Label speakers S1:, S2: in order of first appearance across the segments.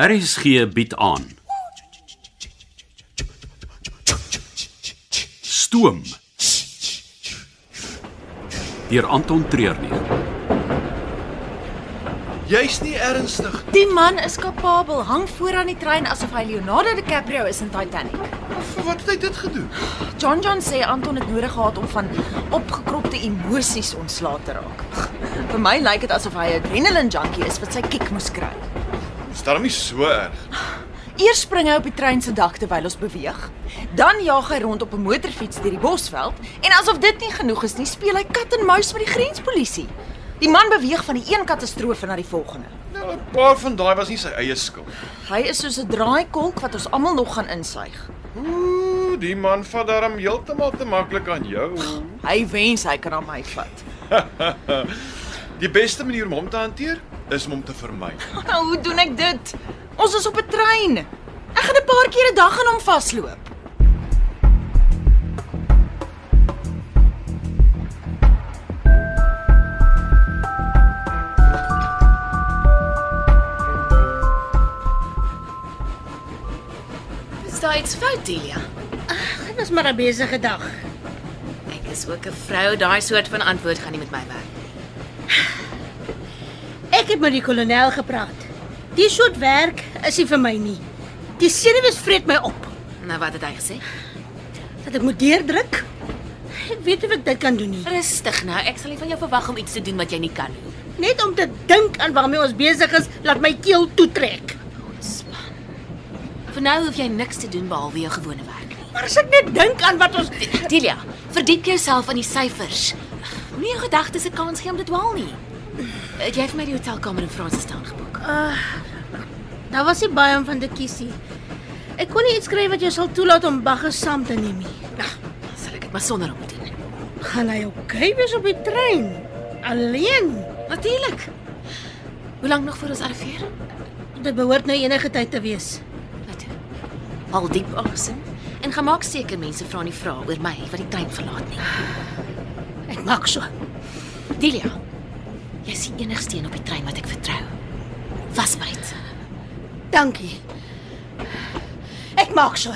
S1: RSG bied aan. Stoom. Deur Anton Treurnig.
S2: Jy's nie ernstig.
S3: Die man is kapabel, hang voor aan die trein asof hy Leonardo DiCaprio is in Titanic.
S2: Vir wat het hy dit gedoen?
S3: John John sê Anton het nodig gehad om van opgekropte emosies ontslae te raak. Vir my lyk dit asof hy 'n adrenaline junkie is wat sy kick moes kry.
S2: Dis darm nie so erg.
S3: Eers spring hy op die trein se dak terwyl ons beweeg, dan jaag hy rond op 'n motorfiets deur die bosveld en asof dit nie genoeg is nie, speel hy kat en muis met die grenspolisie. Die man beweeg van die een katastrofe na die volgende.
S2: Nou 'n paar van daai was nie sy eie skuld.
S3: Hy is soos 'n draaikolk wat ons almal nog gaan insuig.
S2: Ooh, die man vat darm heeltemal te maklik aan jou.
S3: Hy wens hy kan aan my vat.
S2: Die beste manier om hom te hanteer is om hom te vermy.
S3: Nou, hoe doen ek dit? Ons is op 'n trein. Ek gaan 'n paar keer 'n dag aan hom vasloop.
S4: Is daar iets fout, Delia?
S5: Dit was maar 'n besige dag.
S4: Ek is ook 'n vrou, daai soort van antwoord gaan nie met my werk.
S5: Ek het met die kolonel gepraat. Die soort werk is nie vir my nie. Die senuwees vreet my op.
S4: Nou wat het hy gesê?
S5: Dat ek moet deurdruk. Ek weet nie of ek dit kan doen nie.
S4: Rustig nou, ek sal nie van jou verwag om iets te doen wat jy nie kan nie.
S5: Net om te dink aan waarmee ons besig is, laat my keel toetrek.
S4: Ontspan. Vir nou hoef jy niks te doen behalwe jou gewone werk nie.
S5: Maar as ek net dink aan wat ons
S4: Delia, verdiep jouself in die syfers. Moenie jou gedagtes 'n kans gee om te dwaal nie. Het jy vir my die hotelkamer in Francistown geboek?
S5: Ah, Daar was nie baie om van te kies nie. Ek kon nie iets kry wat jou sal toelaat om bagge saam te neem nie. Ag,
S4: Sal ek dit maar sonder hom doen?
S5: gaan hy okay wees op die trein? Alleen.
S4: Natuurlik. Hoe lank nog voor ons arriveer?
S5: Dit behoort nou enige tyd te wees.
S4: Nou toe. Haal diep asem en gaan maak seker mense vra nie vrae oor my wat die trein verlaat nie.
S5: Ek maak so.
S4: Delia, jy is die enigste een op die trein wat ek vertrou. Vasbyt.
S5: Dankie. Ek maak so.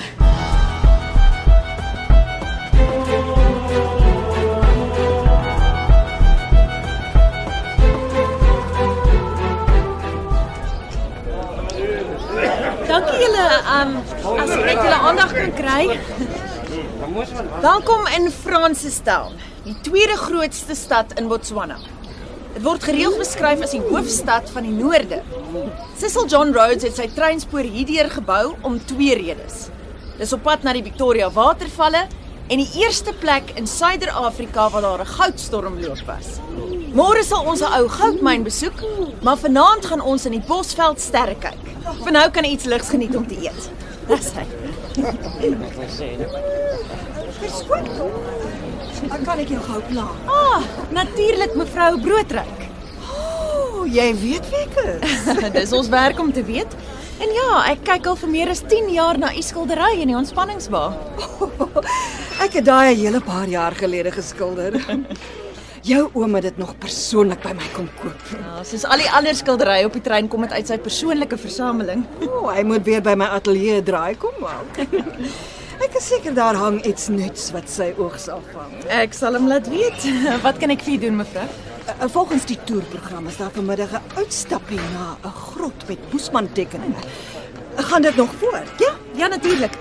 S3: Dankie julle. Um as ek net julle aandag kan kry. Welkom in Francistown, die tweede grootste stad in Botswana. Dit word gereeld beskryf as die hoofstad van die noorde. Cecil John Rhodes het sy treinspoor hierdeur gebou om twee redes. Dis op pad na die Victoria watervalle en die eerste plek in Suider-Afrika waar daar 'n goudstormloop was. Môre sal ons 'n ou goudmyn besoek, maar vanaand gaan ons in die Bosveld sterre kyk. Vir nou kan jy iets ligs geniet om te eet. Dis hy.
S6: Dan kan ek jou gou plaas.
S3: Ah, natuurlik mevrou Broodryk.
S6: O, oh, jy weet wie ek is.
S3: Dis ons werk om te weet. En ja, ek kyk al vir meer as 10 jaar na u skildery in die ontspanningsbaa.
S6: Ek het daai 'n hele paar jaar gelede geskilder. jou oom het dit nog persoonlik by my kom koop.
S3: Ja, soos al die ander skilderye op die trein kom dit uit sy persoonlike versameling.
S6: O, oh, hy moet weer by my ateljee draai kom maak. ek is seker daar hang iets nuuts wat sy oog sal vang.
S3: Ek sal hom laat weet. Wat kan ek vir u doen, mevrou?
S6: Uh, Volgens die toerprogram is daar vanmiddag 'n uitstappie na 'n grot met Boesman tekeninge. Gaan dit nog voort? Ja.
S3: Ja, natuurlik.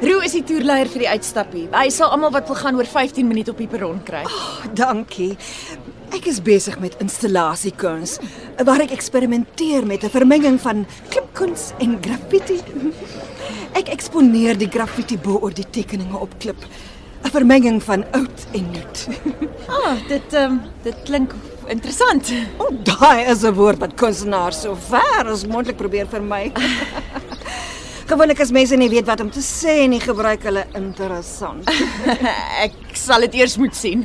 S3: Roo is die toerleier vir die uitstappie. Hy sal almal wat wil gaan oor 15 minute op die perron kry.
S6: Dankie. Ek is besig met installasiekuns waar ek eksperimenteer met 'n vermenging van klipkuns en graffiti. Ek eksponeer die graffiti bo oor die tekeninge op klip. 'n Vermenging van oud en nuut.
S3: Ah, dit ehm um, dit klink interessant.
S6: O, Oh, daai is 'n woord wat kunstenaars so ver as moontlik probeer vermy. Gewoonlik as mense nie weet wat om te sê nie, gebruik hulle interessant.
S3: ek sal dit eers moet sien.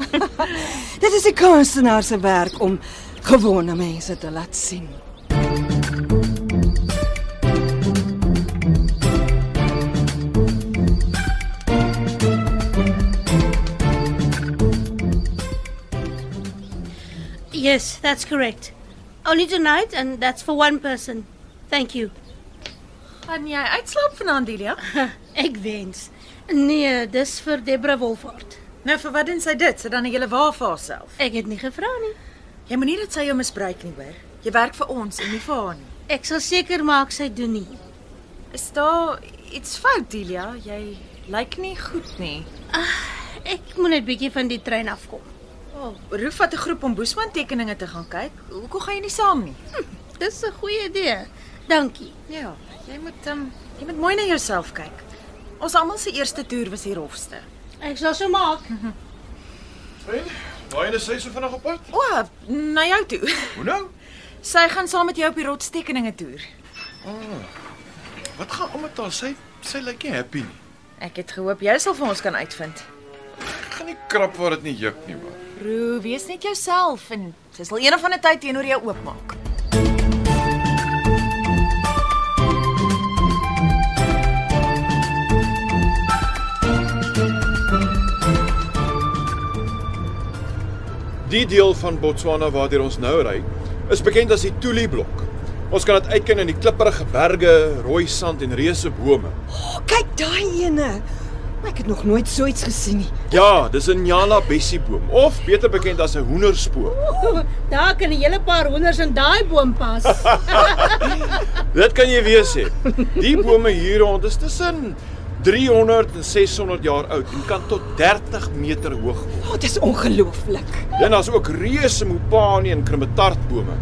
S6: Dit is 'n kunstenaar se werk om gewone mense te laat sien.
S5: Yes, that's correct. Only tonight and that's for one person. Thank you.
S3: Gaan jy uitslaap vanaand, Delia?
S5: Ek wens. Nee, dis vir Debra Wolfhard.
S3: Nou vir wat doen sy dit? Sy dan 'n hele wa vir haarself.
S5: Ek het nie gevra nie.
S3: Jy moenie dat sy jou misbruik nie, hoor. Jy werk vir ons en nie vir haar nie.
S5: Ek sal seker maak sy doen nie.
S3: Is daar iets fout, Delia? Jy lyk nie goed nie.
S5: Ek moet net bietjie van die trein afkom.
S3: Oh, Roef vat 'n groep om Boesman tekeninge te gaan kyk. Hoekom gaan jy nie saam nie?
S5: Dis 'n goeie idee. Dankie.
S3: Ja, jy moet um, jy moet mooi na jouself kyk. Ons almal se eerste toer was die rofste.
S5: Ek sal so maak.
S2: Hey, waarheen is sy so vinnig op pad?
S3: O, oh, na jou toe.
S2: Hoe nou?
S3: Sy gaan saam met jou op die rotstekeninge toer.
S2: Wat gaan om met haar? Sy sy lyk nie happy nie.
S3: Ek het gehoop jy sal vir ons kan uitvind.
S2: Ek gaan nie krap waar dit nie juk nie, man.
S3: Roo, wees net jouself en sy sal eendag van 'n tyd teenoor jou oopmaak.
S2: Die deel van Botswana waartoe ons nou ry, is bekend as die Tuli blok. Ons kan dit uitken in die klipperige berge, rooi sand en reuse bome.
S6: O, kyk daai ene. Ek het nog nooit so iets gesien nie.
S2: Ja, dis 'n Nyala bessieboom of beter bekend as 'n hoenderspoor.
S5: Daar kan 'n hele paar honders in daai boom pas.
S2: Dit kan jy weer sê. Die bome hier rond is tussen 300 en 600 jaar oud en kan tot 30 meter hoog word.
S6: O, dis ongelooflik.
S2: Dan daar's ook reuse mopani en krometartbome.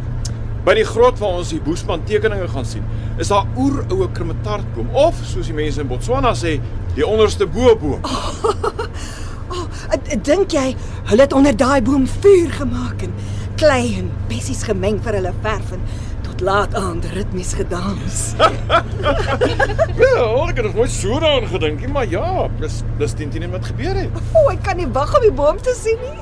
S2: By die grot waar ons die Boesman tekeninge gaan sien, is daar oeroue krometartboom of soos die mense in Botswana sê, die onderste boeboom.
S6: O, d- Eh, dink jy hulle het onder daai boom vuur gemaak en klei en bessies gemeng vir hulle verf en tot laat aand ritmies gedans?
S2: Ja, ek het nog nooit so daaraan gedink nie, maar ja, dis dis teen teen wat gebeur het.
S6: O, ek kan nie wag om die boom te sien nie.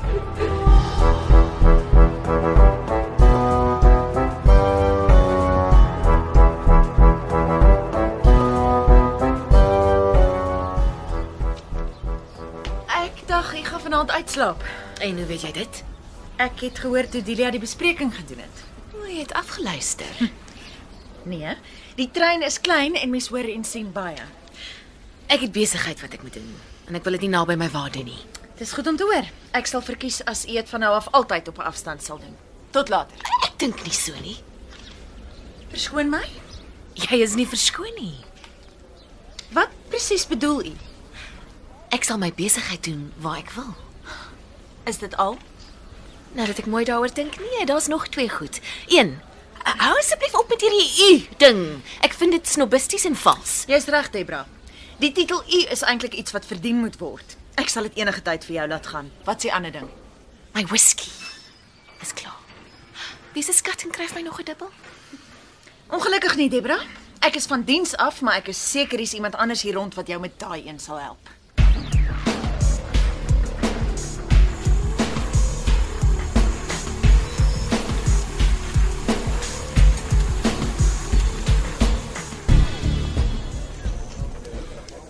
S3: Ek dink jy gaan vanaand uitslaap.
S4: En hoe weet jy dit?
S3: Ek het gehoor toe Delia die bespreking gedoen het.
S4: O, jy het afgeluister.
S3: Nee, die trein is klein en mens hoor en sien baie.
S4: Ek het besigheid wat ek moet doen en ek wil dit nie naby my wa doen nie.
S3: Dis goed om te hoor. Ek sal verkies as u dit van nou af altyd op 'n afstand sal doen. Tot later.
S4: Ek dink nie so nie.
S3: Verskoon my.
S4: Jy is nie verskoon nie.
S3: Wat presies bedoel u?
S4: Ek sal my besigheid doen waar ek wil.
S3: Is dit al?
S4: Nou dat ek mooi daaroor dink, nee, daar's nog twee goed. Een, uh, hou asseblief op met hierdie u ding. Ek vind dit snobbisties en vals.
S3: Jy's reg, Debra. Die titel U is eintlik iets wat verdien moet word. Ek sal dit enige tyd vir jou laat gaan. Wat s'ie ander ding?
S4: My whisky is klaar. Wie se skat en kryf my nog 'n dubbel?
S3: Ongelukkig nie, Debra. Ek is van diens af, maar ek is seker hier's iemand anders hier rond wat jou met daai een sal help.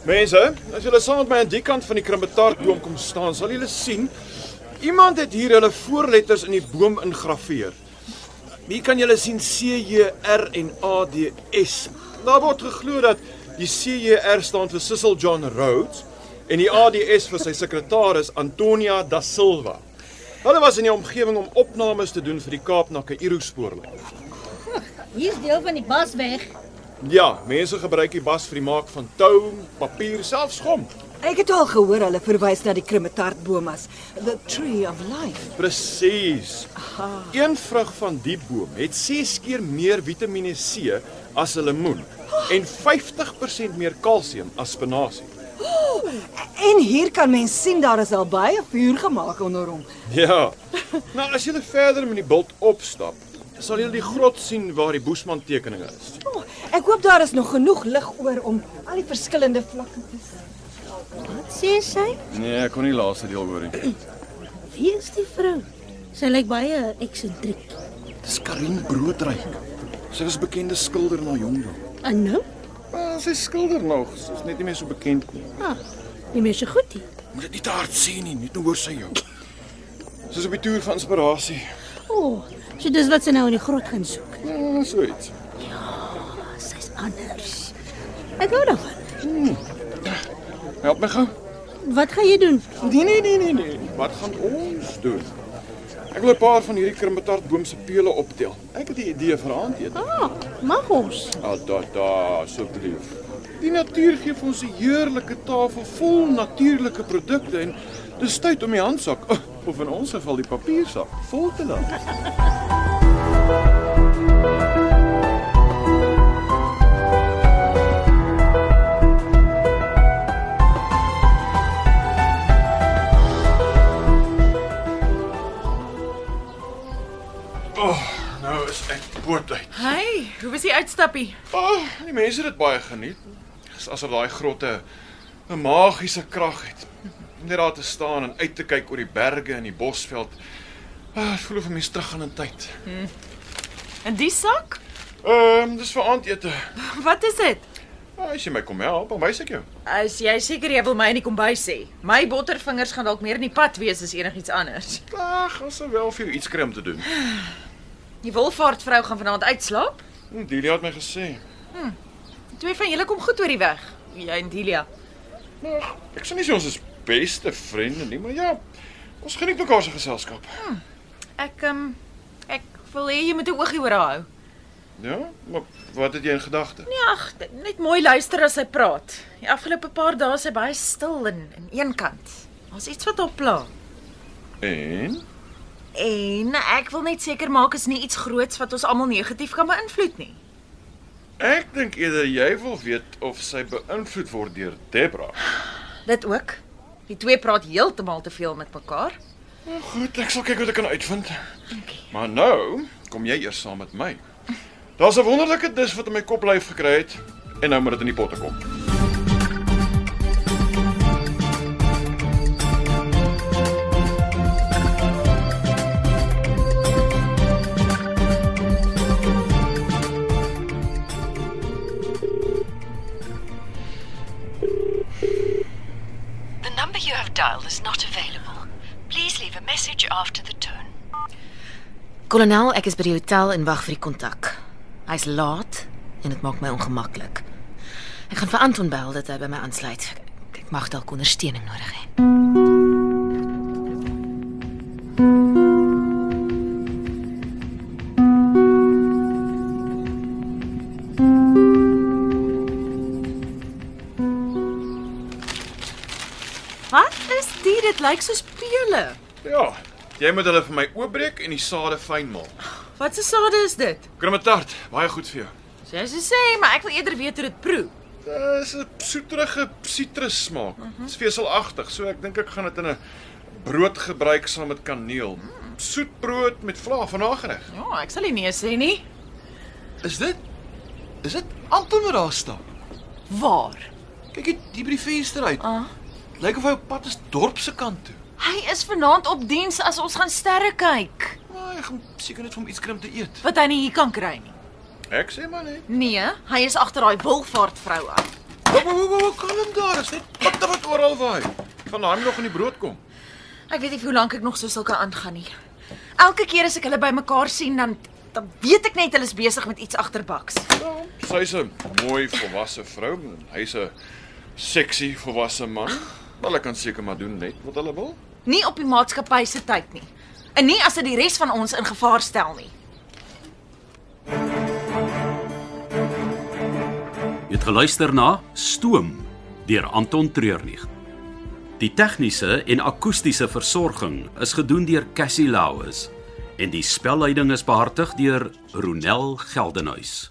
S2: Mense, as julle saam met my aan die kant van die krummetartboom kom staan, sal julle sien iemand het hier hulle voorletters in die boom ingraveer. Hier kan julle sien C J R en A D S. Daar word geglo dat die C J R staan vir Cecil John Rhodes en die A D S vir sy sekretaris Antonia da Silva. Hulle was in die omgewing om opnames te doen vir die Kaap na Kaïro spoorlyn.
S5: Hier's deel van die basweg.
S2: Ja, mense gebruik die bas vir die maak van tou, papier, selfs gom.
S6: Ek het al gehoor hulle verwys na die krometartboom as the tree of life.
S2: Presies. Een vrug van die boom het 6 keer meer Vitamiene C as 'n lemoen en 50% meer kalsium as spinasie.
S6: En hier kan mens sien daar is al baie vuur gemaak onder hom.
S2: Ja. Nou as jy verder met die bult opstap, sal jy die grot sien waar die Boesman tekeninge is.
S6: O, ek hoop daar is nog genoeg lig oor om al die verskillende vlakke te sien.
S5: Sê sy,
S2: Nee, ek kon nie laaste deel hoor nie.
S5: wie is die vrou? Sy lyk baie eksentriek.
S2: Dis Karin Broodryk. Sy was bekende skilder na jongdom.
S5: En nou?
S2: Maar sy skilder nog, sy's net nie meer so bekend nie.
S5: Ah, nie meer so goed nie.
S2: Moet dit nie te hard sê nie, net nou hoor sy jou. Sy's op die toer van inspirasie.
S5: O, oh, so dis wat sy nou in die grot gaan soek.
S2: Ja, so iets.
S5: Sy's anders. Ek hou daarvan.
S2: Help my gou.
S5: Wat gaan jy doen?
S2: Nee nee nee nee nee. Wat gaan ons doen? Ek wil 'n paar van hierdie krimbetaartboom se pele optel. Ek het 'n idee vir aandete.
S5: Ah, mag ons.
S2: Ah, da da, asseblief. Die natuur gee vir ons 'n heerlike tafel vol natuurlike produkte en dis tyd om die handsak oh, of in ons geval die papiersak vol te laat. Nou is ek boord uit.
S3: Hey, hoe was die uitstappie?
S2: Oh, die mense het dit baie geniet. Dis asof daai grotte 'n magiese krag het. Om Net daar te staan en uit te kyk oor die berge en die bosveld. Ah, ek voel of 'n mens teruggaan in tyd.
S3: In die sak?
S2: Ehm, dis vir aandete.
S3: Wat is dit?
S2: Ah, as jy my kom help, dan wys ek jou.
S3: As jy seker jy wil my in die kombuis hê. My bottervingers gaan dalk meer in die pad wees as enigiets anders.
S2: Ag, ons sal wel vir jou iets kry om te doen.
S3: Die wolvaartvrou gaan vanaand uitslaap.
S2: Hm, Delia het my gesê.
S3: Twee van julle kom goed oor die weg. Jy en Delia.
S2: Maar ek sê nie so ons is beste vriende nie, maar ja, ons geniet mekaar se geselskap.
S3: Ek ehm um, ek wil hê jy moet 'n oogie oor haar hou.
S2: Ja, maar wat het jy in gedagte?
S3: Nee, ag, net mooi luister as sy praat. Die afgelope paar dae is sy baie stil en aan een kant. Daar's iets wat haar pla.
S2: En
S3: En ek wil net seker maak is nie iets groots wat ons almal negatief kan beïnvloed nie.
S2: Ek dink eerder jy wil weet of sy beïnvloed word deur Debra.
S3: Dit ook. Die twee praat heeltemal te veel met mekaar.
S2: Goed, ek sal kyk wat ek kan uitvind. Maar nou, kom jy eers saam met my. Daar's 'n wonderlike dis wat in my kop lyf gekry het en nou moet dit in die potte kom.
S7: The number you have dialed is not available. Please leave a message after the tone.
S4: Kolonel, ek is by die hotel en wag vir die kontak. Hy's laat en dit maak my ongemaklik. Ek gaan vir Anton bel dat hy by my aansluit. Ek- Ek mag dalk ondersteuning nodig hê.
S3: Wat is dit? Dit lyk soos pele.
S2: Ja, jy moet hulle vir my oopbreek en die sade fyn maal.
S3: Wat se sade is dit?
S2: Krummetart, baie goed vir jou.
S3: Sy sê sê, maar ek wil eerder weet hoe dit proe.
S2: Dis 'n soeterige sitrus smaak. Dit's veselagtig, so ek dink ek gaan dit in 'n brood gebruik saam met kaneel. Soetbrood met vla van nagereg.
S3: Ja, ek sal nie nee sê nie.
S2: Is dit? Is dit Anton wat daar staan?
S3: Waar?
S2: Kyk hier hier by die venster uit. Ah. Lyk of hy op pad is dorp se kant toe.
S3: Hy is vanaand op diens as ons gaan sterre kyk,
S2: Maar ek gaan seker net vir hom iets krim te eet.
S3: wat hy nie hier kan kry nie.
S2: Ek sê maar net.
S3: Nee, hy is agter daai wilvaartvrou aan.
S2: Wou wou wou kom hom daar, is net patte wat oral waai. Van daai nog in die brood kom.
S3: Ek weet nie hoe lank ek nog so sulke aangaan nie. Elke keer as ek hulle bymekaar sien, dan dan weet ek net hulle is besig met iets agterbaks.
S2: Ja, sy's 'n mooi volwasse vrou en hy's 'n seksie volwasse man. Hulle kan seker maar doen net wat hulle wil.
S3: Nie op die maatskappy se tyd nie. En nie as dit die res van ons in gevaar stel nie.
S1: Jy het geluister na Stoom deur Anton Treurnig. Die tegniese en akoestiese versorging is gedoen deur Cassie Lauis en die spelleiding is behartig deur Ronel Geldenhuys.